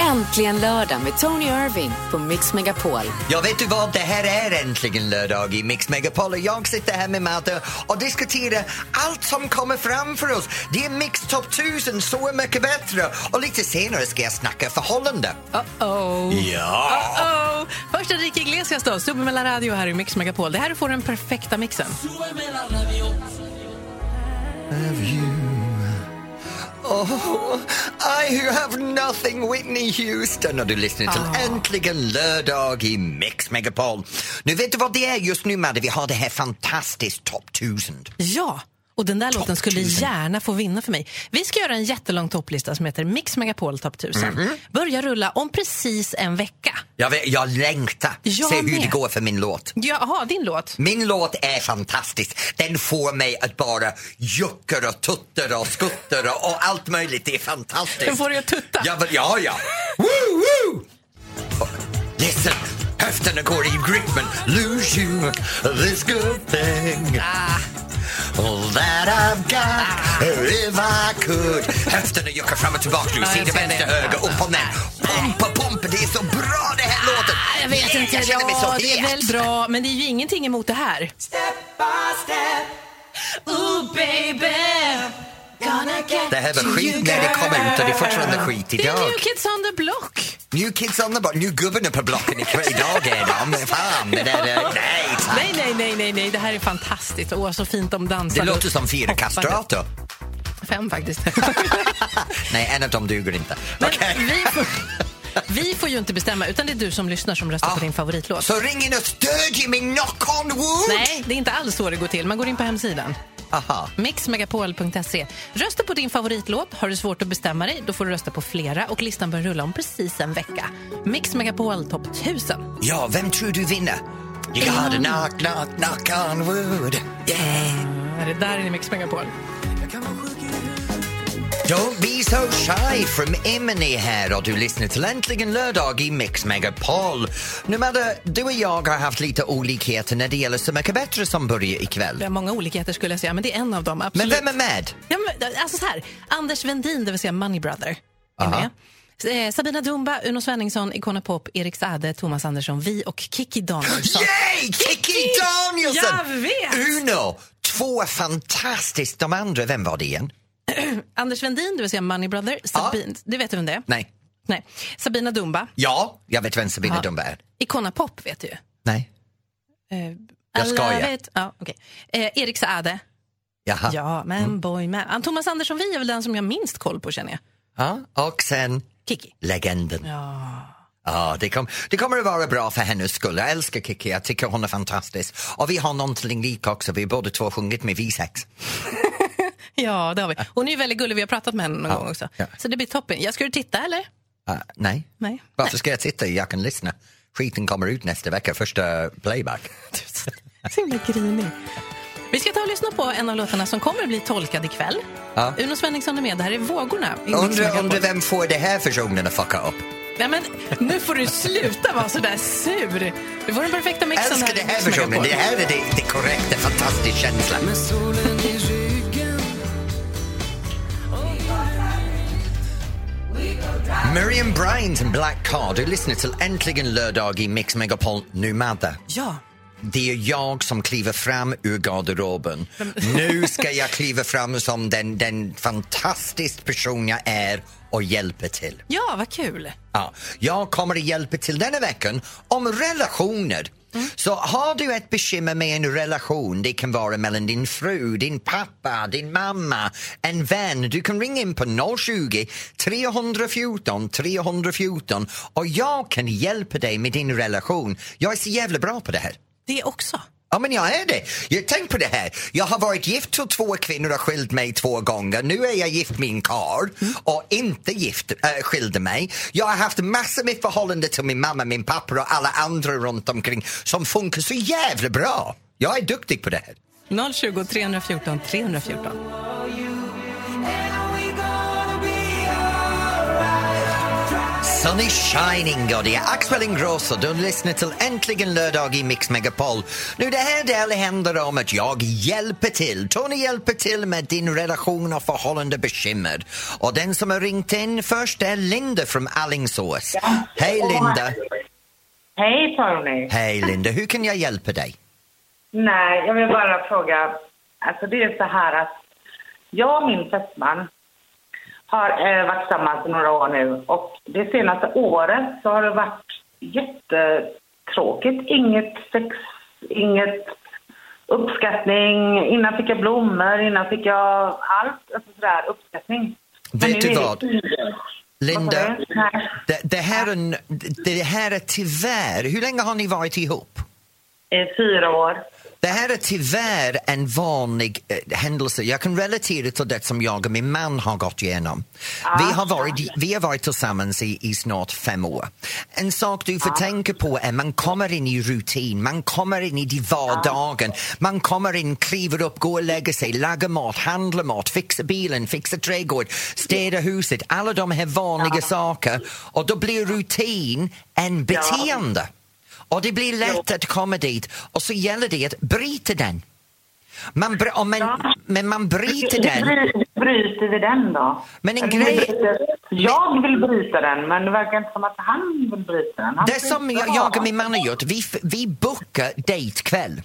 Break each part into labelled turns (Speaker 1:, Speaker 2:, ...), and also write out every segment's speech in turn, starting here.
Speaker 1: Äntligen lördag med Tony Irving på Mix Megapol.
Speaker 2: Ja, vet du vad? Det här är äntligen lördag i Mix Megapol och jag sitter här med Madde och diskuterar allt som kommer framför oss. Det är Mix Top 1000, Så mycket bättre och lite senare ska jag snacka förhållande.
Speaker 3: Uh-oh.
Speaker 2: Ja!
Speaker 3: Uh-oh. Först Enrique Iglesias då, Super mellan radio här i Mix Megapol. Det här får den perfekta mixen.
Speaker 2: Have you? Oh, I who have nothing, Whitney Houston. Och du lyssnar till Äntligen lördag i Mix Megapol. Nu vet du vad det är just nu, Madde? Vi har det här fantastiskt topp 1000.
Speaker 3: Ja, och den där låten skulle
Speaker 2: 1000.
Speaker 3: gärna få vinna för mig. Vi ska göra en jättelång topplista som heter Mix Megapol Top 1000. Börjar rulla om precis en vecka.
Speaker 2: Jag, vet, jag längtar.
Speaker 3: Jag
Speaker 2: Se hur
Speaker 3: med.
Speaker 2: det går för min låt.
Speaker 3: Jaha, din låt.
Speaker 2: Min låt är fantastisk. Den får mig att bara jucka och tuttar och skuttar och, och allt möjligt. Det är fantastiskt.
Speaker 3: Den får dig att tutta.
Speaker 2: Ja, men- ja. ja. Woo, woo! Oh, Listen! Höfterna går i rytmen. Lose you this good thing
Speaker 3: Ah.
Speaker 2: All that I've got if I could Höfterna juckar fram och tillbaka nu.
Speaker 3: Ja, jag
Speaker 2: Sida,
Speaker 3: ser
Speaker 2: vänster,
Speaker 3: det. Ah.
Speaker 2: höger, upp och ner. Pumpa, pumpa. Det är så bra det här låten.
Speaker 3: Jag vet inte.
Speaker 2: Jag känner mig så
Speaker 3: ja, det är
Speaker 2: het.
Speaker 3: väl bra, men det är ju ingenting emot det här. Ooh, baby.
Speaker 2: Det här var skit när det kom ut och det är fortfarande skit
Speaker 3: Det är
Speaker 2: idag.
Speaker 3: New Kids on the Block.
Speaker 2: New Kids on the Block, nu gubbarna på blocken i varje dag är de. Men Fan, det där är... Nej, tack.
Speaker 3: Nej, nej, nej, nej, nej. det här är fantastiskt. Åh, så fint de dansar.
Speaker 2: Det låter som fyra kastrater.
Speaker 3: Fem faktiskt.
Speaker 2: Nej, en av dem duger inte.
Speaker 3: Men
Speaker 2: Okej.
Speaker 3: vi, får, vi får ju inte bestämma, utan det är du som lyssnar som röstar
Speaker 2: Ja.
Speaker 3: på din favoritlåt.
Speaker 2: Ah. Så ring in och stödj mig, knock on wood!
Speaker 3: Nej, det är inte alls så det går till. Man går in på hemsidan.
Speaker 2: Aha.
Speaker 3: mixmegapol.se. Rösta på din favoritlåt. Har du svårt att bestämma dig, då får du rösta på flera och listan börjar rulla om precis en vecka. Mix Megapol topp 1000.
Speaker 2: Ja, vem tror du vinner? You gotta knock, knock, knock on wood. Yeah.
Speaker 3: Det där är Mix Megapol.
Speaker 2: Don't be so shy from Emily här och du lyssnar till Äntligen lördag i Mix Megapol. Nu Madde, du och jag har haft lite olikheter när det gäller Så mycket bättre som börjar ikväll.
Speaker 3: Det är många olikheter skulle jag säga, men det är en av dem.
Speaker 2: Men
Speaker 3: Absolut.
Speaker 2: vem är med?
Speaker 3: Ja, men, alltså så här, Anders Wendin, det vill säga Money Brother, är
Speaker 2: Aha.
Speaker 3: med. Eh, Sabina Dumba, Uno Svenningsson, Icona Pop, Erik Saade, Thomas Andersson, vi och Kiki Danielsson.
Speaker 2: Yay! Kiki Danielsson!
Speaker 3: Jag vet!
Speaker 2: Uno! Två fantastiskt. De andra, vem var det igen?
Speaker 3: Anders Wendin, det vill säga Money Brother, Sabin, det vet du vem det är?
Speaker 2: Nej.
Speaker 3: Nej. Sabina Dumba,
Speaker 2: Ja, jag vet vem Sabina
Speaker 3: Ja.
Speaker 2: Dumba är.
Speaker 3: Icona Pop vet du ju.
Speaker 2: Nej.
Speaker 3: Eh,
Speaker 2: Jag
Speaker 3: alla
Speaker 2: skojar.
Speaker 3: vet- Ja, okay. eh, Erik Saade.
Speaker 2: Jaha. Ja. Mm.
Speaker 3: Ja, men boy man. Ah, Thomas Andersson vi är väl den som jag minst koll på känner jag.
Speaker 2: Och sen
Speaker 3: Kiki.
Speaker 2: legenden. Ja. det, kom, det kommer att vara bra för hennes skull. Jag älskar Kiki, jag tycker hon är fantastisk. Och vi har någonting lik också, vi har båda två sjungit med vi sex.
Speaker 3: Ja, det har vi. Hon är ju väldigt gullig, vi har pratat med henne någon
Speaker 2: Ja,
Speaker 3: gång också.
Speaker 2: ja.
Speaker 3: Så det blir toppen. Jag ska du titta eller?
Speaker 2: Ah, nej.
Speaker 3: Nej.
Speaker 2: Varför ska jag titta? Jag kan lyssna. Skiten kommer ut nästa vecka, första playback.
Speaker 3: Så himla grinig. Vi ska ta och lyssna på en av låtarna som kommer att bli tolkad ikväll.
Speaker 2: Ja.
Speaker 3: Uno Svenningsson är med. Det här är Vågorna. i Mix
Speaker 2: Undrar
Speaker 3: Megapol.
Speaker 2: undra vem får det här personen att fucka upp?
Speaker 3: Nej, men, nu får du sluta vara så där sur. Du får den perfekta mixen.
Speaker 2: älskar
Speaker 3: här i
Speaker 2: det
Speaker 3: Mix
Speaker 2: här personen.
Speaker 3: Megapol.
Speaker 2: Det här är det, det korrekta, fantastiska känslan. Miriam Bryant and Black Car. Du lyssnar till Äntligen lördag i Mix Megapol. Nu Madde,
Speaker 3: Ja.
Speaker 2: det är jag som kliver fram ur garderoben. Nu ska jag kliva fram som den, den fantastiskt person jag är och hjälpa till.
Speaker 3: ja, vad kul.
Speaker 2: Ja, jag kommer att hjälpa till denna veckan om relationer. Så har du ett bekymmer med en relation, det kan vara mellan din fru, din pappa, din mamma, en vän. Du kan ringa in på 020 314 314 och jag kan hjälpa dig med din relation. Jag är så jävla bra på det här.
Speaker 3: Det också.
Speaker 2: Ja, men jag är det. Jag, tänk på det här. Jag har varit gift till två kvinnor och skilt mig två gånger. Nu är jag gift med en karl och inte gift, äh, skilde mig. Jag har haft massor med förhållande till min mamma, min pappa och alla andra runt omkring som funkar så jävla bra. Jag är duktig på det här.
Speaker 3: 020 314 314.
Speaker 2: Sun is shining, God, det är Axel Ingrosso. Du lyssnar till Äntligen lördag i Mix Megapol. Nu, det här delen händer om att jag hjälper till. Tony hjälper till med din relation och förhållande bekymmer. Och den som har ringt in först är Linda från Allingsås. Hej, Linda.
Speaker 4: Hej Tony!
Speaker 2: Hej, Linda. Hur kan jag hjälpa dig?
Speaker 4: Nej, jag vill bara fråga. Alltså det är så här att jag och min fästman har eh, varit tillsammans i några år nu och det senaste året så har det varit jättetråkigt. Inget sex, inget uppskattning. Innan fick jag blommor, innan fick jag allt. Alltså sådär uppskattning. Men
Speaker 2: Vet
Speaker 4: nu
Speaker 2: du
Speaker 4: är det
Speaker 2: vad?
Speaker 4: tydligt. Vad sa
Speaker 2: Linda,
Speaker 4: du? Nej.
Speaker 2: det, det, här är, en- det här är tyvärr... Hur länge har ni varit ihop?
Speaker 4: I fyra år.
Speaker 2: Det här är tyvärr en vanlig eh, händelse. Jag kan relatera till det som jag och min man har gått igenom. Vi, har varit, vi har varit tillsammans i, i snart fem år. En sak du får tänka på är man kommer in i rutin, man kommer in i de vardagen. Man kommer in, kliver upp, går och lägger sig, lagar mat, handlar mat, fixar bilen, fixar trädgården, städar huset. Alla de här vanliga saker. Och då blir rutin en beteende. Och det blir lätt att komma dit och så gäller det att bryta den. Man br- om man, Men man bryter den.
Speaker 4: Hur bryter vi den då?
Speaker 2: Men en
Speaker 4: Eller
Speaker 2: grej-
Speaker 4: hur bryter- Jag vill bryta den, men det verkar inte som att han vill bryta den. Han
Speaker 2: Det som
Speaker 4: bryter
Speaker 2: jag, jag och
Speaker 4: av.
Speaker 2: min man har gjort, vi, f- vi bokar dejtkväll.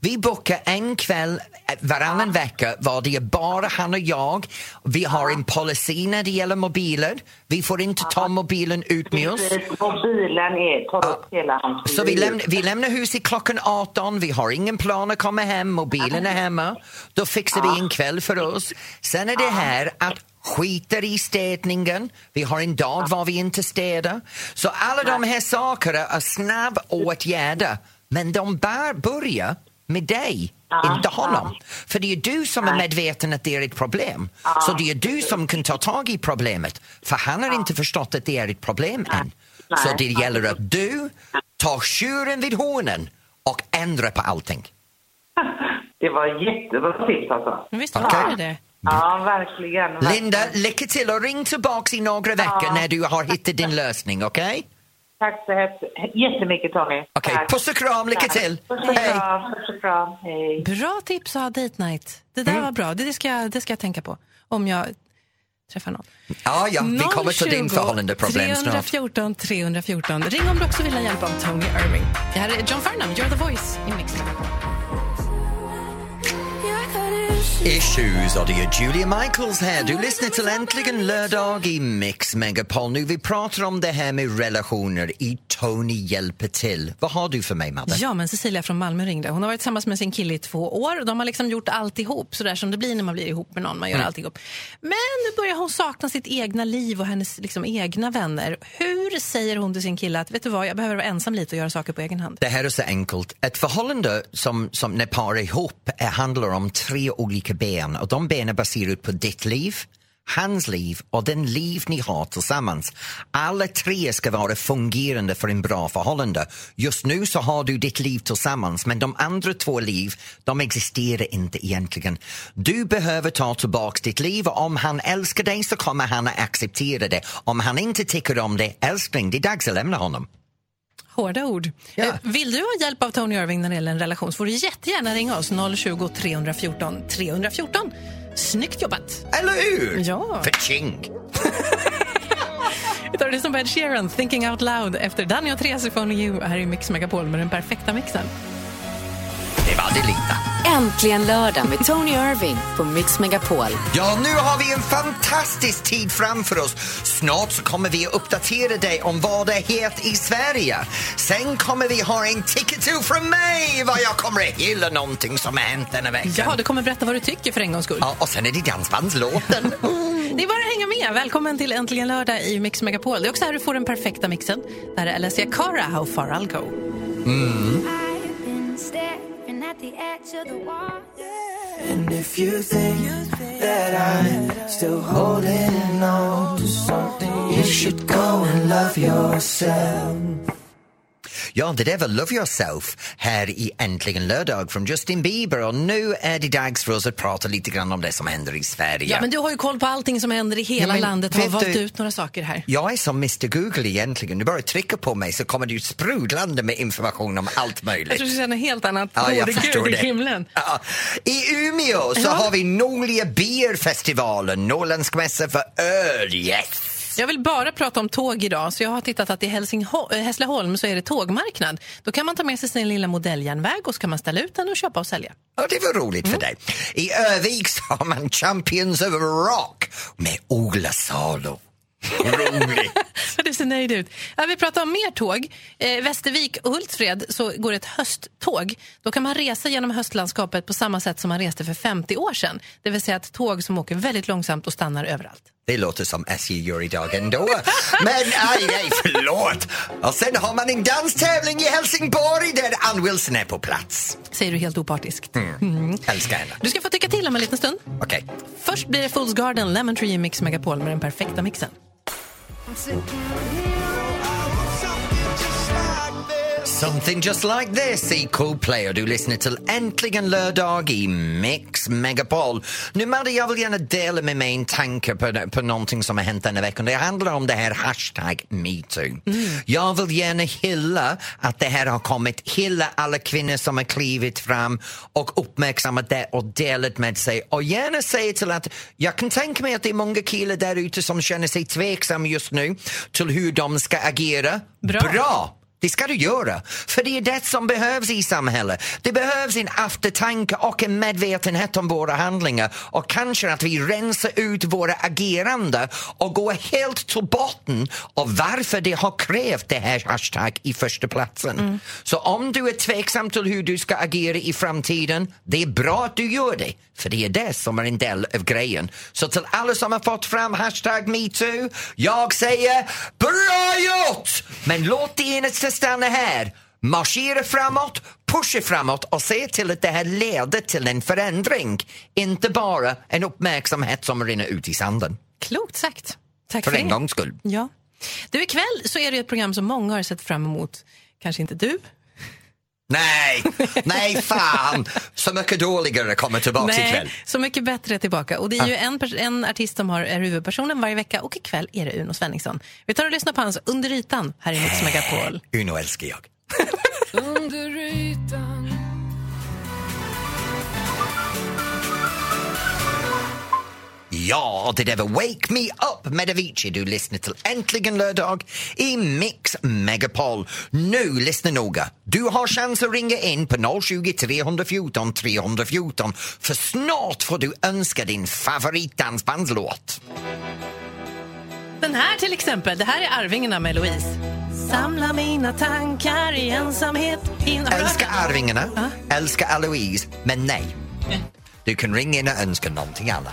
Speaker 2: Vi bokar en kväll eh, varannan vecka var det är bara han och jag. Vi har en policy när det gäller mobiler. Vi får inte ta mobilen ut med oss.
Speaker 4: Mobilen är, tar upp hela hans
Speaker 2: Så vi,
Speaker 4: liv.
Speaker 2: lämn, vi lämnar huset klockan 18, vi har ingen plan att komma hem, mobilen är hemma. Då fixar vi en kväll för oss. Sen är det här att skiter i städningen, vi har en dag var vi inte städar. Så alla de här sakerna är snabb åtgärder, men de bör börja med dig. Inte honom. För det är du som är medveten att det är ett problem. Så det är du som kan ta tag i problemet. För han har inte förstått att det är ett problem än. Så det gäller att du tar tjuren vid hornen och ändrar på allting.
Speaker 4: Det var jättebra tips alltså.
Speaker 3: Men Visst var det det?
Speaker 4: Ja, verkligen. verkligen.
Speaker 2: Linda, lycka till och ring tillbaka i några veckor när du har hittat din lösning, okej?
Speaker 4: Tack så hemskt jättemycket Tony.
Speaker 2: Okej,
Speaker 4: Tack.
Speaker 2: puss och kram, lycka till!
Speaker 4: Puss och
Speaker 2: Hej!
Speaker 4: kram, puss och kram. Hej.
Speaker 3: Bra tips att ha date night. Det
Speaker 2: Mm.
Speaker 3: där var bra. Det, det, ska, jag- det ska jag tänka på om jag träffar någon.
Speaker 2: Ja, ja, vi kommer till din
Speaker 3: 020
Speaker 2: förhållandeproblem snart.
Speaker 3: 314 314. Ring om du också vill ha hjälp av Tony Irving. Det här är John Farnham, You're the voice i Mix Megapol.
Speaker 2: Issues och det är Julia Michaels här. Du lyssnar till Äntligen lördag i Mix Megapol. Nu vi pratar om det här med relationer i Tony hjälper till. Vad har du för mig, Madde?
Speaker 3: Ja, men Cecilia från Malmö ringde. Hon har varit tillsammans med sin kille i två år. De har liksom gjort allt ihop, så där som det blir när man blir ihop med någon. Man
Speaker 2: Mm.
Speaker 3: gör allt ihop. Men nu börjar hon sakna sitt egna liv och hennes liksom, egna vänner. Hur säger hon till sin kille att vet du vad, jag behöver vara ensam lite och göra saker på egen hand?
Speaker 2: Det här är så enkelt. Ett förhållande som, som när par är ihop är, handlar om tre olika ben och de benen baserar på ditt liv, hans liv och den liv ni har tillsammans. Alla tre ska vara fungerande för en bra förhållande. Just nu så har du ditt liv tillsammans men de andra två liv, de existerar inte egentligen. Du behöver ta tillbaka ditt liv och om han älskar dig så kommer han att acceptera det. Om han inte tycker om det, älskling, det är dags att lämna honom.
Speaker 3: Hårda ord.
Speaker 2: Ja.
Speaker 3: Eh, Vill du ha hjälp av Tony Irving när det gäller en relation så får du jättegärna ringa oss 020 314 314. Snyggt jobbat!
Speaker 2: Eller hur?
Speaker 3: Ja.
Speaker 2: För tjing!
Speaker 3: Vi tar det som Ed Sheeran, Thinking Out Loud efter Danny och Therese från You här i Mix Megapol med den perfekta mixen.
Speaker 2: Det var det lilla.
Speaker 1: Äntligen lördag med Tony Irving på Mix Megapol.
Speaker 2: Ja, nu har vi en fantastisk tid framför oss. Snart så kommer vi att uppdatera dig om vad det heter i Sverige. Sen kommer vi ha en ticket till från mig vad jag kommer att hylla någonting som har hänt denna veckan.
Speaker 3: Ja, du kommer berätta vad du tycker för en gångs skull.
Speaker 2: Ja, och sen är det dansbandslåten.
Speaker 3: Det är bara att hänga med. Välkommen till Äntligen lördag i Mix Megapol. Det är också här du får den perfekta mixen. Där är Alessia Cara, How far I'll go.
Speaker 5: I've been staring at the edge of the wall.
Speaker 6: If you think that I'm still holding on to something, you should go and love yourself.
Speaker 2: Ja, det där var Love Yourself här i Äntligen lördag från Justin Bieber och nu är det dags för oss att prata lite grann om det som händer i Sverige.
Speaker 3: Ja, men du har ju koll på allting som händer i hela
Speaker 2: Ja, men
Speaker 3: landet. Har
Speaker 2: vet
Speaker 3: valt
Speaker 2: du-
Speaker 3: ut några saker här.
Speaker 2: Jag är som Mr Google egentligen. Du bara trycker på mig så kommer du sprudlande med information om allt
Speaker 3: Jag
Speaker 2: möjligt.
Speaker 3: tror du känner helt annat.
Speaker 2: Ja, jag
Speaker 3: Gode
Speaker 2: förstår
Speaker 3: Gud i
Speaker 2: det.
Speaker 3: himlen.
Speaker 2: Ja. I Umeå så
Speaker 3: Ja.
Speaker 2: har vi Norlia Beer-festivalen, norrländsk mässa för öl. Yes!
Speaker 3: Jag vill bara prata om tåg idag, så jag har tittat att i Helsingho- eh, Hässleholm så är det tågmarknad. Då kan man ta med sig sin lilla modelljärnväg och så kan man ställa ut den och köpa och sälja.
Speaker 2: Ja, det var roligt för dig. I Örvik så har man Champions of Rock med Ola Salo. Roligt!
Speaker 3: Ja, Du ser nöjd ut. Ja, vi pratar om mer tåg. Eh, Västervik och Hultsfred så går ett hösttåg. Då kan man resa genom höstlandskapet på samma sätt som man reste för 50 år sedan. Det vill säga ett tåg som åker väldigt långsamt och stannar överallt.
Speaker 2: Det låter som SJ gör idag ändå. Men aj, nej, förlåt! Och sen har man en danstävling i Helsingborg där Ann Wilson är på plats.
Speaker 3: Säger du helt opartiskt.
Speaker 2: Mm. Älskar henne.
Speaker 3: Du ska få tycka till om en liten stund.
Speaker 2: Okej.
Speaker 3: Först blir det Fools Garden, Lemon Tree i Mix Megapol med den perfekta mixen.
Speaker 2: Something just like this i Coldplay och du lyssnar till Äntligen lördag i Mix Megapol. Nu Madde, jag vill gärna dela med mig en tanke på, på någonting som har hänt denna veckan. Det handlar om det här hashtag metoo. Jag vill gärna hylla att det här har kommit, hylla alla kvinnor som har klivit fram och uppmärksammat det och delat med sig och gärna säga till att jag kan tänka mig att det är många killar där ute som känner sig tveksamma just nu till hur de ska agera.
Speaker 3: Bra.
Speaker 2: Bra! Det ska du göra, för det är det som behövs i samhället. Det behövs en eftertanke och en medvetenhet om våra handlingar och kanske att vi rensar ut våra agerande och går helt till botten av varför det har krävt det här hashtag i första platsen. Så om du är tveksam till hur du ska agera i framtiden, det är bra att du gör det, för det är det som är en del av grejen. Så till alla som har fått fram hashtag metoo, jag säger bra gjort! Men låt det eneste stanna här. Marschera framåt, pusha framåt och se till att det här leder till en förändring. Inte bara en uppmärksamhet som rinner ut i sanden.
Speaker 3: Klokt sagt. Tack
Speaker 2: För
Speaker 3: för
Speaker 2: en
Speaker 3: det.
Speaker 2: gångs skull.
Speaker 3: Ja. Du, ikväll så är det ju ett program som många har sett fram emot. Kanske inte du.
Speaker 2: Nej, nej fan! Så mycket dåligare kommer tillbaka ikväll. Ah.
Speaker 3: Så mycket bättre är tillbaka. Och det är ju en, pers- en artist som har, är huvudpersonen varje vecka och ikväll är det Uno Svenningsson. Vi tar och lyssnar på hans Under ytan här i Mix Megapol.
Speaker 2: Uno älskar jag. Ja, och det där var Wake Me Up med Avicii. Du lyssnar till Äntligen lördag i Mix Megapol. Nu, lyssna noga. Du har chans att ringa in på 020 314 314 för snart får du önska din favoritdansbandslåt.
Speaker 3: Den här till exempel. Det här är Arvingarna med Louise. Samla mina tankar i ensamhet. In... Har du hört
Speaker 2: Älskar
Speaker 3: den?
Speaker 2: Arvingarna, älskar Aloise, men nej. Du kan ringa in och önska någonting annat.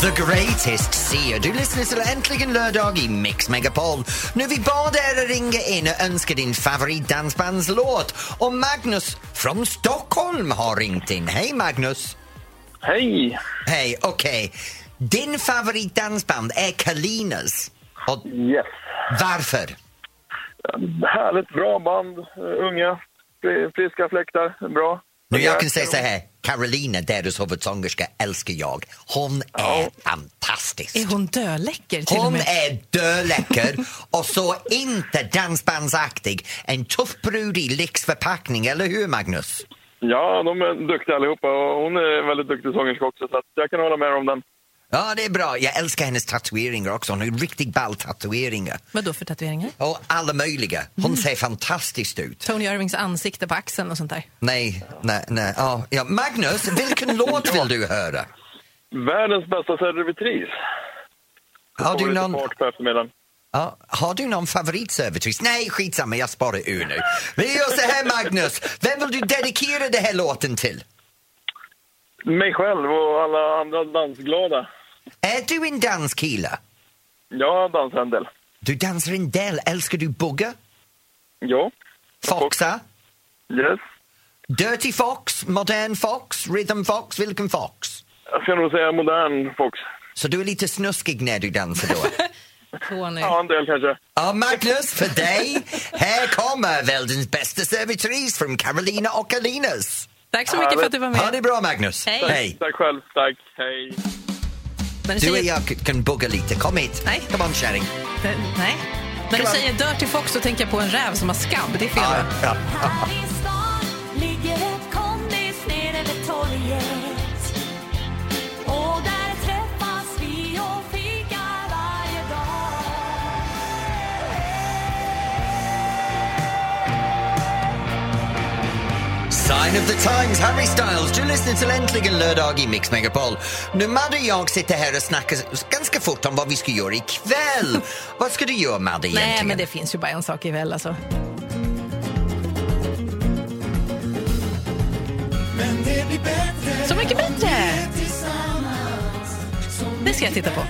Speaker 2: The Greatest Seer. Du lyssnar till Äntligen lördag i Mix Megapol. Nu vi bad er att ringa in och önska din favoritdansbandslåt. Och Magnus från Stockholm har ringt in. Hej Magnus!
Speaker 7: Hej!
Speaker 2: Hej, okej. Din favoritdansband är Kalinas. Och
Speaker 7: Yes.
Speaker 2: varför?
Speaker 7: Härligt, bra band, eh, unga, fri- friska fläktar, bra.
Speaker 2: Nu jag kan säga så här, Carolina, deras huvudsångerska, älskar jag. Hon är fantastisk.
Speaker 3: Är hon döläcker till och
Speaker 2: Hon
Speaker 3: med?
Speaker 2: är döläcker och så inte dansbandsaktig. En tuff brud i lyxförpackning, eller hur Magnus?
Speaker 7: Ja, de är duktiga allihopa och hon är väldigt duktig sångerska också så att jag kan hålla med om den.
Speaker 2: Ja, det är bra. Jag älskar hennes tatueringar också. Hon har riktigt ball tatueringar.
Speaker 3: Vad då för tatueringar?
Speaker 2: Och alla möjliga. Hon ser fantastiskt ut.
Speaker 3: Tony Irvings ansikte på axeln och sånt där.
Speaker 2: Nej, nej, nej. Ja, ja. Magnus, vilken låt vill du höra?
Speaker 7: Världens bästa servitris.
Speaker 2: Har
Speaker 7: Kommer
Speaker 2: du
Speaker 7: lite
Speaker 2: någon...
Speaker 7: fart på eftermiddagen.
Speaker 2: Ja, har du någon favoritservitris? Nej, skitsamma, jag sparar ur nu. Vi gör så här, Magnus. Vem vill du dedikera den här låten till?
Speaker 7: Mig själv och alla andra dansglada.
Speaker 2: Är du en danskille?
Speaker 7: Ja, dansar en del.
Speaker 2: Du dansar en del. Älskar du bugga?
Speaker 7: Ja.
Speaker 2: Foxa?
Speaker 7: Yes.
Speaker 2: Dirty fox? Modern fox? Rhythm fox? Vilken fox?
Speaker 7: Jag ska nog säga modern Fox.
Speaker 2: Så du är lite snuskig när du dansar då?
Speaker 3: Tony.
Speaker 7: Ja, en del kanske.
Speaker 2: Ja, Magnus, för dig, här kommer världens bästa servitris från Carolina och Alinas.
Speaker 3: Tack så mycket för att du var
Speaker 2: Ha det
Speaker 3: med.
Speaker 2: bra, Magnus.
Speaker 3: Hej.
Speaker 7: Tack själv, tack. Hej.
Speaker 3: När du
Speaker 2: Du och
Speaker 3: säger...
Speaker 2: jag kan bugga lite. Kom hit.
Speaker 3: Nej.
Speaker 2: Come on, kärring.
Speaker 3: Nej. När du
Speaker 2: Come on.
Speaker 3: säger Dirty Fox så tänker jag på en räv som har skabb. Det är fel.
Speaker 2: Ja,
Speaker 3: va?
Speaker 2: ja.
Speaker 5: Här i stan ligger ett kondis nere vid torget. Och där träffas vi och fikar varje dag.
Speaker 2: Sign of the times, Harry Styles. Du lyssnar till Äntligen lördag i Mix Megapol. Nu Madde och jag sitter här och snackar ganska fort om vad vi ska göra ikväll. vad ska du göra, Madde, egentligen?
Speaker 3: Nej, men det finns ju bara en sak ikväll alltså. Så mycket bättre! Det ska jag titta på.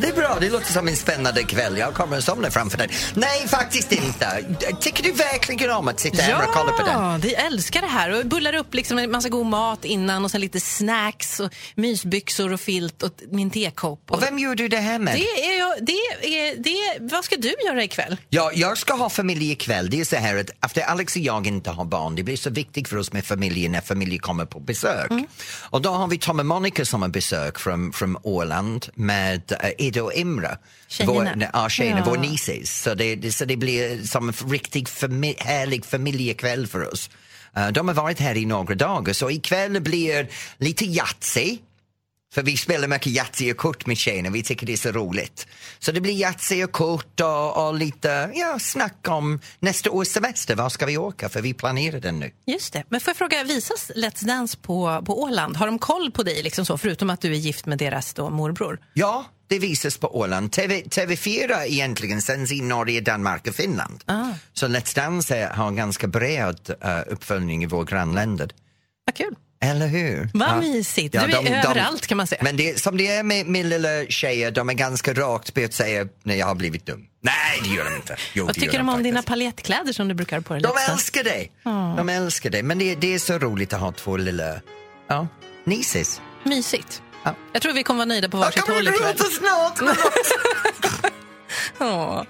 Speaker 2: Det är bra, det låter som en spännande kväll. Jag kommer att somna framför den. Nej, faktiskt inte. Tycker du verkligen om att sitta här och kolla på den?
Speaker 3: Ja, vi älskar det här. Och bullar upp liksom en massa god mat innan och sen lite snacks och mysbyxor och filt och min tekopp. Och
Speaker 2: Och vem gör du det här med?
Speaker 3: det är jag, det är, det är, vad ska du göra ikväll?
Speaker 2: Ja, jag ska ha familj ikväll. Det är så här att efter Alex och jag inte har barn, det blir så viktigt för oss med familjen när familjen kommer på besök.
Speaker 3: Mm.
Speaker 2: Och då har vi Tom och Monica som har besök från, från Åland med eh, Ida och Imre.
Speaker 3: Tjejerna.
Speaker 2: Vår, nej, ja, tjejerna,
Speaker 3: Ja.
Speaker 2: vår nieces. Så det, det- så det blir som en f- riktig fami- härlig familjekväll för oss. Eh, de har varit här i några dagar, så ikväll blir lite Yatzy. För vi spelar mycket Yatzy och kort med tjejerna, vi tycker det är så roligt. Så det blir Yatzy och kort och, och lite ja, snack om nästa års semester, var ska vi åka? För vi planerar den nu.
Speaker 3: Just det. Men får jag fråga, visas Let's Dance på, på Åland? Har de koll på dig, liksom så, förutom att du är gift med deras då, morbror?
Speaker 2: Ja, det visas på Åland. TV, TV4 egentligen sänds i Norge, Danmark och Finland.
Speaker 3: Ah.
Speaker 2: Så Let's Dance eh, har en ganska bred eh, uppföljning i våra grannländer.
Speaker 3: Vad kul.
Speaker 2: Eller hur?
Speaker 3: Vad mysigt. Du är överallt, kan man säga.
Speaker 2: Men det, som det är med, med lilla tjejer, de är ganska rakt på att säga när jag har blivit dum. Nej, det gör de inte. Jo,
Speaker 3: Vad
Speaker 2: det
Speaker 3: tycker
Speaker 2: gör
Speaker 3: de om
Speaker 2: faktiskt.
Speaker 3: dina paljettkläder som du brukar ha på dig?
Speaker 2: De
Speaker 3: Leksand?
Speaker 2: älskar dig. De älskar dig. Men det, det är så roligt att ha två lilla ja, nieces.
Speaker 3: Mysigt.
Speaker 2: Ja.
Speaker 3: Jag tror vi kommer vara nöjda på
Speaker 2: Jag
Speaker 3: varsitt
Speaker 2: kommer
Speaker 3: håll ikväll.
Speaker 2: gråta snart.
Speaker 3: Åh.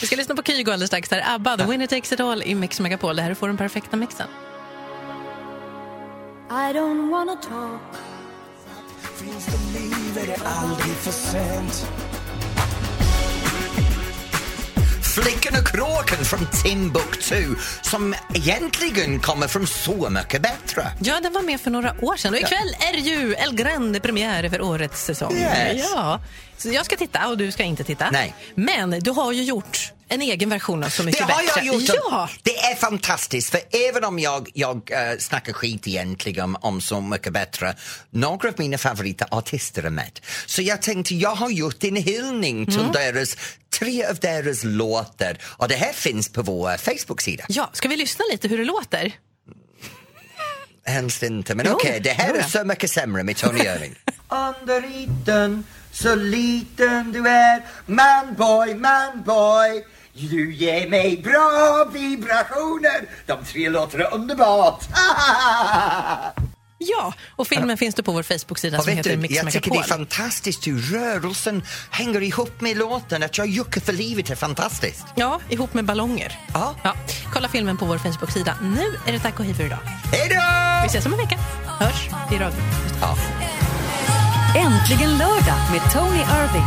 Speaker 3: Vi ska lyssna på Kygo alldeles strax. Där ABBA, The Winner Takes It All i Mix Megapol. Det här får den perfekta mixen.
Speaker 5: I don't wanna talk
Speaker 2: Flickan och kråkan från Timbuktu som egentligen kommer från Så mycket bättre.
Speaker 3: Ja, den var med för några år sedan. Och ikväll är det ju El Grande premiär för årets säsong.
Speaker 2: Yes.
Speaker 3: Ja. Så jag ska titta och du ska inte titta.
Speaker 2: Nej.
Speaker 3: Men du har ju gjort en egen version av Så
Speaker 2: Det
Speaker 3: mycket
Speaker 2: har
Speaker 3: bättre.
Speaker 2: jag gjort.
Speaker 3: Ja.
Speaker 2: Det är fantastiskt, för även om jag, jag eh, snackar skit egentligen om, om Så mycket bättre, några av mina favoritartister är med. Så jag tänkte, jag har gjort en hyllning till
Speaker 3: Mm.
Speaker 2: deras, tre av deras låtar och det här finns på vår Facebook-sida.
Speaker 3: ja, ska vi lyssna lite hur det låter?
Speaker 2: Helst inte, men
Speaker 3: Jo,
Speaker 2: okej, det här
Speaker 3: jo
Speaker 2: är
Speaker 3: då.
Speaker 2: så mycket sämre med Tony Irving. Underiten, så liten du är Manboy, manboy Du ger mig bra vibrationer De tre låter underbart!
Speaker 3: Ja, och filmen finns det på vår Facebook-sida
Speaker 2: Och
Speaker 3: som
Speaker 2: vet
Speaker 3: Alltså, heter
Speaker 2: du,
Speaker 3: Mix
Speaker 2: jag tycker det
Speaker 3: Megapol.
Speaker 2: är fantastiskt hur rörelsen hänger ihop med låten. Att jag juckar för livet är fantastiskt.
Speaker 3: Ja, ihop med ballonger.
Speaker 2: Ja.
Speaker 3: Kolla filmen på vår Facebook-sida. Nu är det tack och hej för idag.
Speaker 2: Hej då!
Speaker 3: Vi ses om en vecka. Hörs i radio.
Speaker 2: Ja.
Speaker 8: Äntligen lördag med Tony Irving.